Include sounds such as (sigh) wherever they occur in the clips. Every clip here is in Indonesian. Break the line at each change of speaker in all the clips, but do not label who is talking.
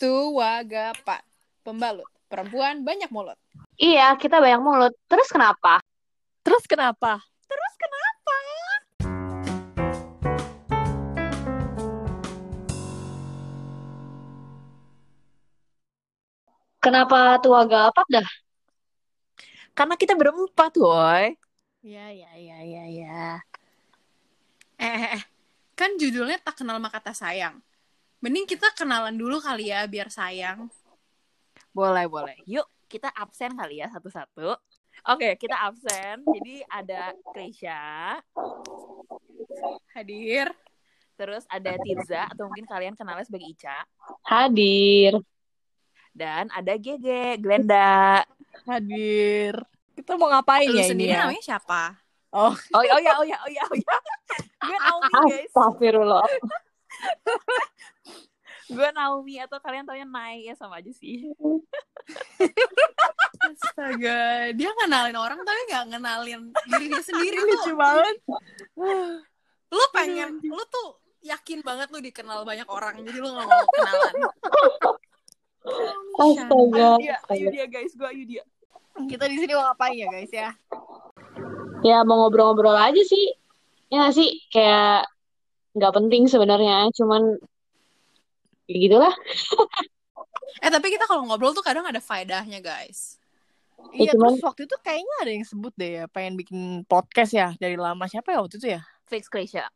Suwagapa, pembalut. Perempuan banyak mulut.
Iya, kita banyak mulut. Terus kenapa?
Terus kenapa?
Terus kenapa?
Kenapa tua gapak dah?
Karena kita berempat, woi.
Ya, ya, ya, ya, ya. Eh, kan judulnya tak kenal maka tak sayang. Mending kita kenalan dulu kali ya, biar sayang.
Boleh, boleh. Yuk, kita absen kali ya satu-satu. Oke, kita absen. Jadi ada Krisha,
Hadir.
terus ada Tirza atau mungkin kalian kenalnya sebagai Ica,
Hadir.
dan ada Gege, Glenda.
Hadir.
Kita mau ngapain
Lu
ya ini?
sendiri
ya?
namanya siapa?
Oh, oh ya, oh ya, oh ya, oh ya. Gue Naomi, guys.
Astagfirullah.
Gue Naomi atau kalian taunya Nai ya sama aja sih.
Astaga, dia ngenalin orang tapi nggak ngenalin dirinya
(laughs)
sendiri tuh.
banget.
Lu pengen, lu tuh yakin banget lu dikenal banyak orang, jadi lu nggak mau kenalan.
Oh,
Astaga.
Ayo dia, ayo dia guys, gue ayo dia.
Kita di sini mau ngapain ya guys ya?
Ya mau ngobrol-ngobrol aja sih. Ya nggak sih kayak nggak penting sebenarnya, cuman ya gitulah.
Eh tapi kita kalau ngobrol tuh kadang ada faedahnya guys.
Ya,
Iya,
cuman-
terus waktu itu kayaknya ada yang sebut deh ya, pengen bikin podcast ya dari lama siapa ya waktu itu ya?
Fix Krisha.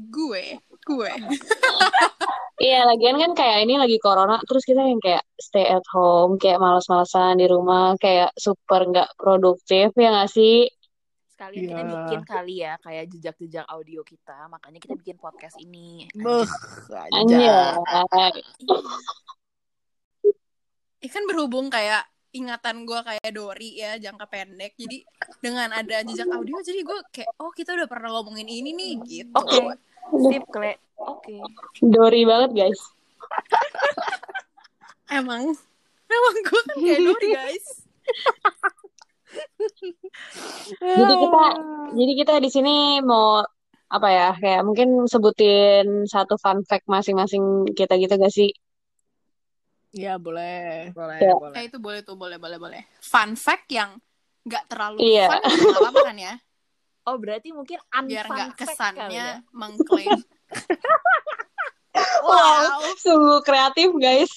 Gue, gue.
Iya, lagian kan kayak ini lagi corona, terus kita yang kayak stay at home, kayak malas-malasan di rumah, kayak super nggak produktif ya nggak sih?
Sekalian kita
Iya.
bikin kali ya kayak jejak-jejak audio kita, makanya kita bikin podcast ini.
Beuh, Ya. Iya,
Anjay.
Ikan kan berhubung kayak ingatan gue kayak Dori ya jangka pendek jadi dengan ada jejak audio jadi gue kayak oh kita udah pernah ngomongin ini nih gitu
Oke. Sip, Kle. Oke.
Dori banget guys.
emang (laughs) emang gue kan kayak Dori guys
Jadi kita jadi kita di sini mau apa ya kayak mungkin sebutin satu fun fact masing-masing kita gitu gak sih?
Iya boleh.
Boleh,
Ya.
nah itu boleh tuh boleh boleh boleh fun fact yang nggak terlalu
Iya.
fun nggak apa-apa kan
(laughs)
ya
Oh, berarti mungkin
biar
unfun
nggak
fact kali
kesannya
ya.
(laughs)
mengklaim
Wow. Sungguh kreatif guys.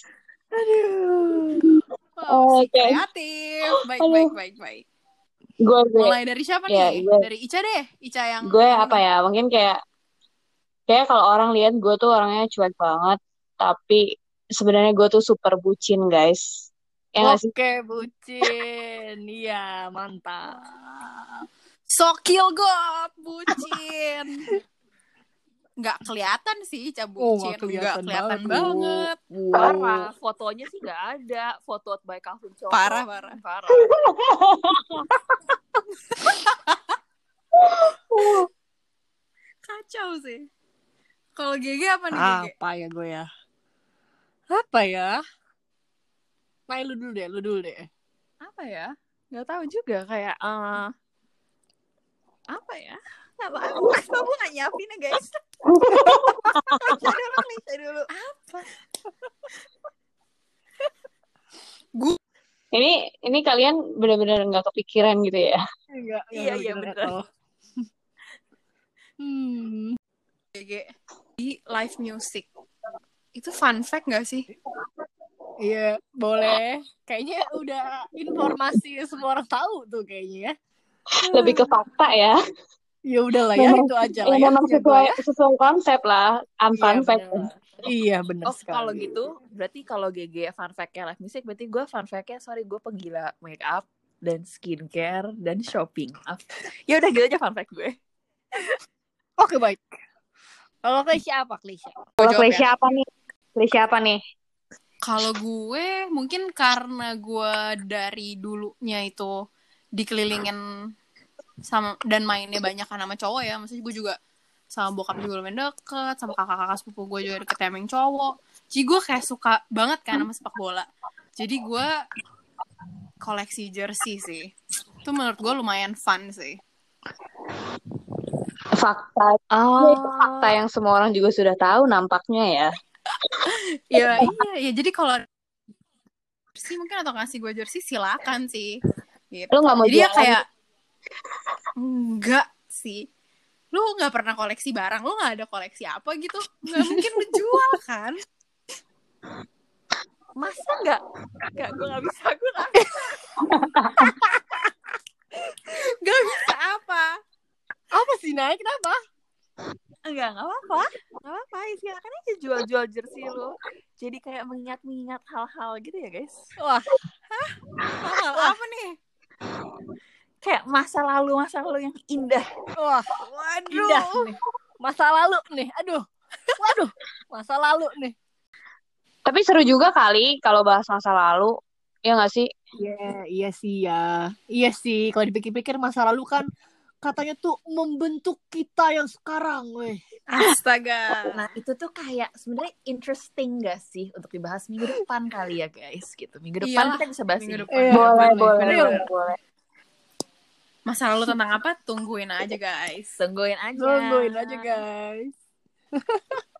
wow si
Oke.
kreatif baik
Aduh.
baik baik baik
Gue gue
mulai dari siapa
Iya,
nih
gue.
dari Ica deh Ica yang
gue apa ya mungkin kayak kayak kalau orang lihat gue tuh orangnya cuek banget tapi sebenarnya gue tuh super bucin guys. Ya gak sih?
Oke, bucin. Iya, mantap.
Sokil got bucin. (laughs) Nggak kelihatan sih Ica
Oh,
bucin. Nggak
nggak kelihatan
kelihatan
banget,
banget.
Bu.
Parah, fotonya sih nggak ada. Foto by Calvin
Oh.
Cowok.
Parah, parah.
Parah.
Kacau sih. Kalau Gege apa nih Gege?
Apa ya gue ya? Apa ya? Nah, lu dulu deh, lu dulu deh.
Apa ya? Nggak tahu juga kayak eh, apa ya? Nggak tahu. Gue nggak nyiapin ya guys. Saya dulu, saya dulu.
Ini ini kalian benar-benar nggak kepikiran gitu ya? (laughs)
Enggak,
Iya, iya, bener.
(laughs) Hmm.
Gege. Di live music. Itu fun fact nggak sih?
Iya, boleh. Kayaknya udah informasi semua orang tahu tuh kayaknya ya.
Lebih ke fakta ya.
Ya udahlah ya,
Memang-
itu aja
Ya
lah ya.
memang
Jagoan.
sesuai sesuai konsep lah, unfun
Iya,
fact.
bener. Iya, bener
Oh,
sekali.
kalau gitu berarti kalau GG fun fact-nya live music berarti gue fun fact-nya sorry gue penggila make up dan skincare dan shopping. Ah, ya udah gitu aja fun fact gue.
Oke, baik. Kalau Keisha apa, Keisha?
Kalau
Jawab ya.
klise apa nih? Klise apa nih?
Kalau gue mungkin karena gue dari dulunya itu dikelilingin sama dan mainnya banyak kan sama cowok ya. Maksudnya gue juga sama bokap juga lumayan deket, sama kakak-kakak sepupu gue juga deket sama yang cowok. Jadi gue kayak suka banget kan sama sepak bola. Jadi gue koleksi jersey sih. Itu menurut gue lumayan fun sih.
Fakta.
Oh,
Itu fakta yang semua orang juga sudah tahu nampaknya ya.
ya iya ya jadi kalau jersey mungkin atau ngasih gue jersey silakan sih gitu.
Lu nggak mau
jadi ya
jualan?
kayak enggak sih lu nggak pernah koleksi barang lu nggak ada koleksi apa gitu nggak mungkin lu jual kan
Masa nggak? Nggak, gue nggak bisa. Gue nggak
nggak bisa apa
Apa sih naik kenapa?
Enggak, enggak apa-apa. Enggak apa-apa. Ya, Silakan aja jual-jual jersey lu. Jadi kayak mengingat-mengingat hal-hal gitu ya, guys.
Wah.
Hal-hal apa nih? Kayak masa lalu, masa lalu yang indah.
Wah,
Waduh.
indah nih. Masa lalu nih. Aduh. Waduh, masa lalu nih.
Tapi seru juga kali kalau bahas masa lalu. Ya nggak sih?
Iya, iya sih ya. Iya sih, kalau dipikir-pikir masa lalu kan katanya tuh membentuk kita yang sekarang, weh.
astaga
Nah, itu tuh kayak sebenarnya interesting gak sih untuk dibahas minggu depan kali ya, guys? Gitu. Minggu
Iyalah,
depan kita bisa bahas
minggu
ini.
depan.
Iya,
boleh,
boleh,
boleh,
boleh.
boleh, boleh.
masa lalu tentang apa tungguin aja guys
Tungguin aja.
Tungguin aja, guys.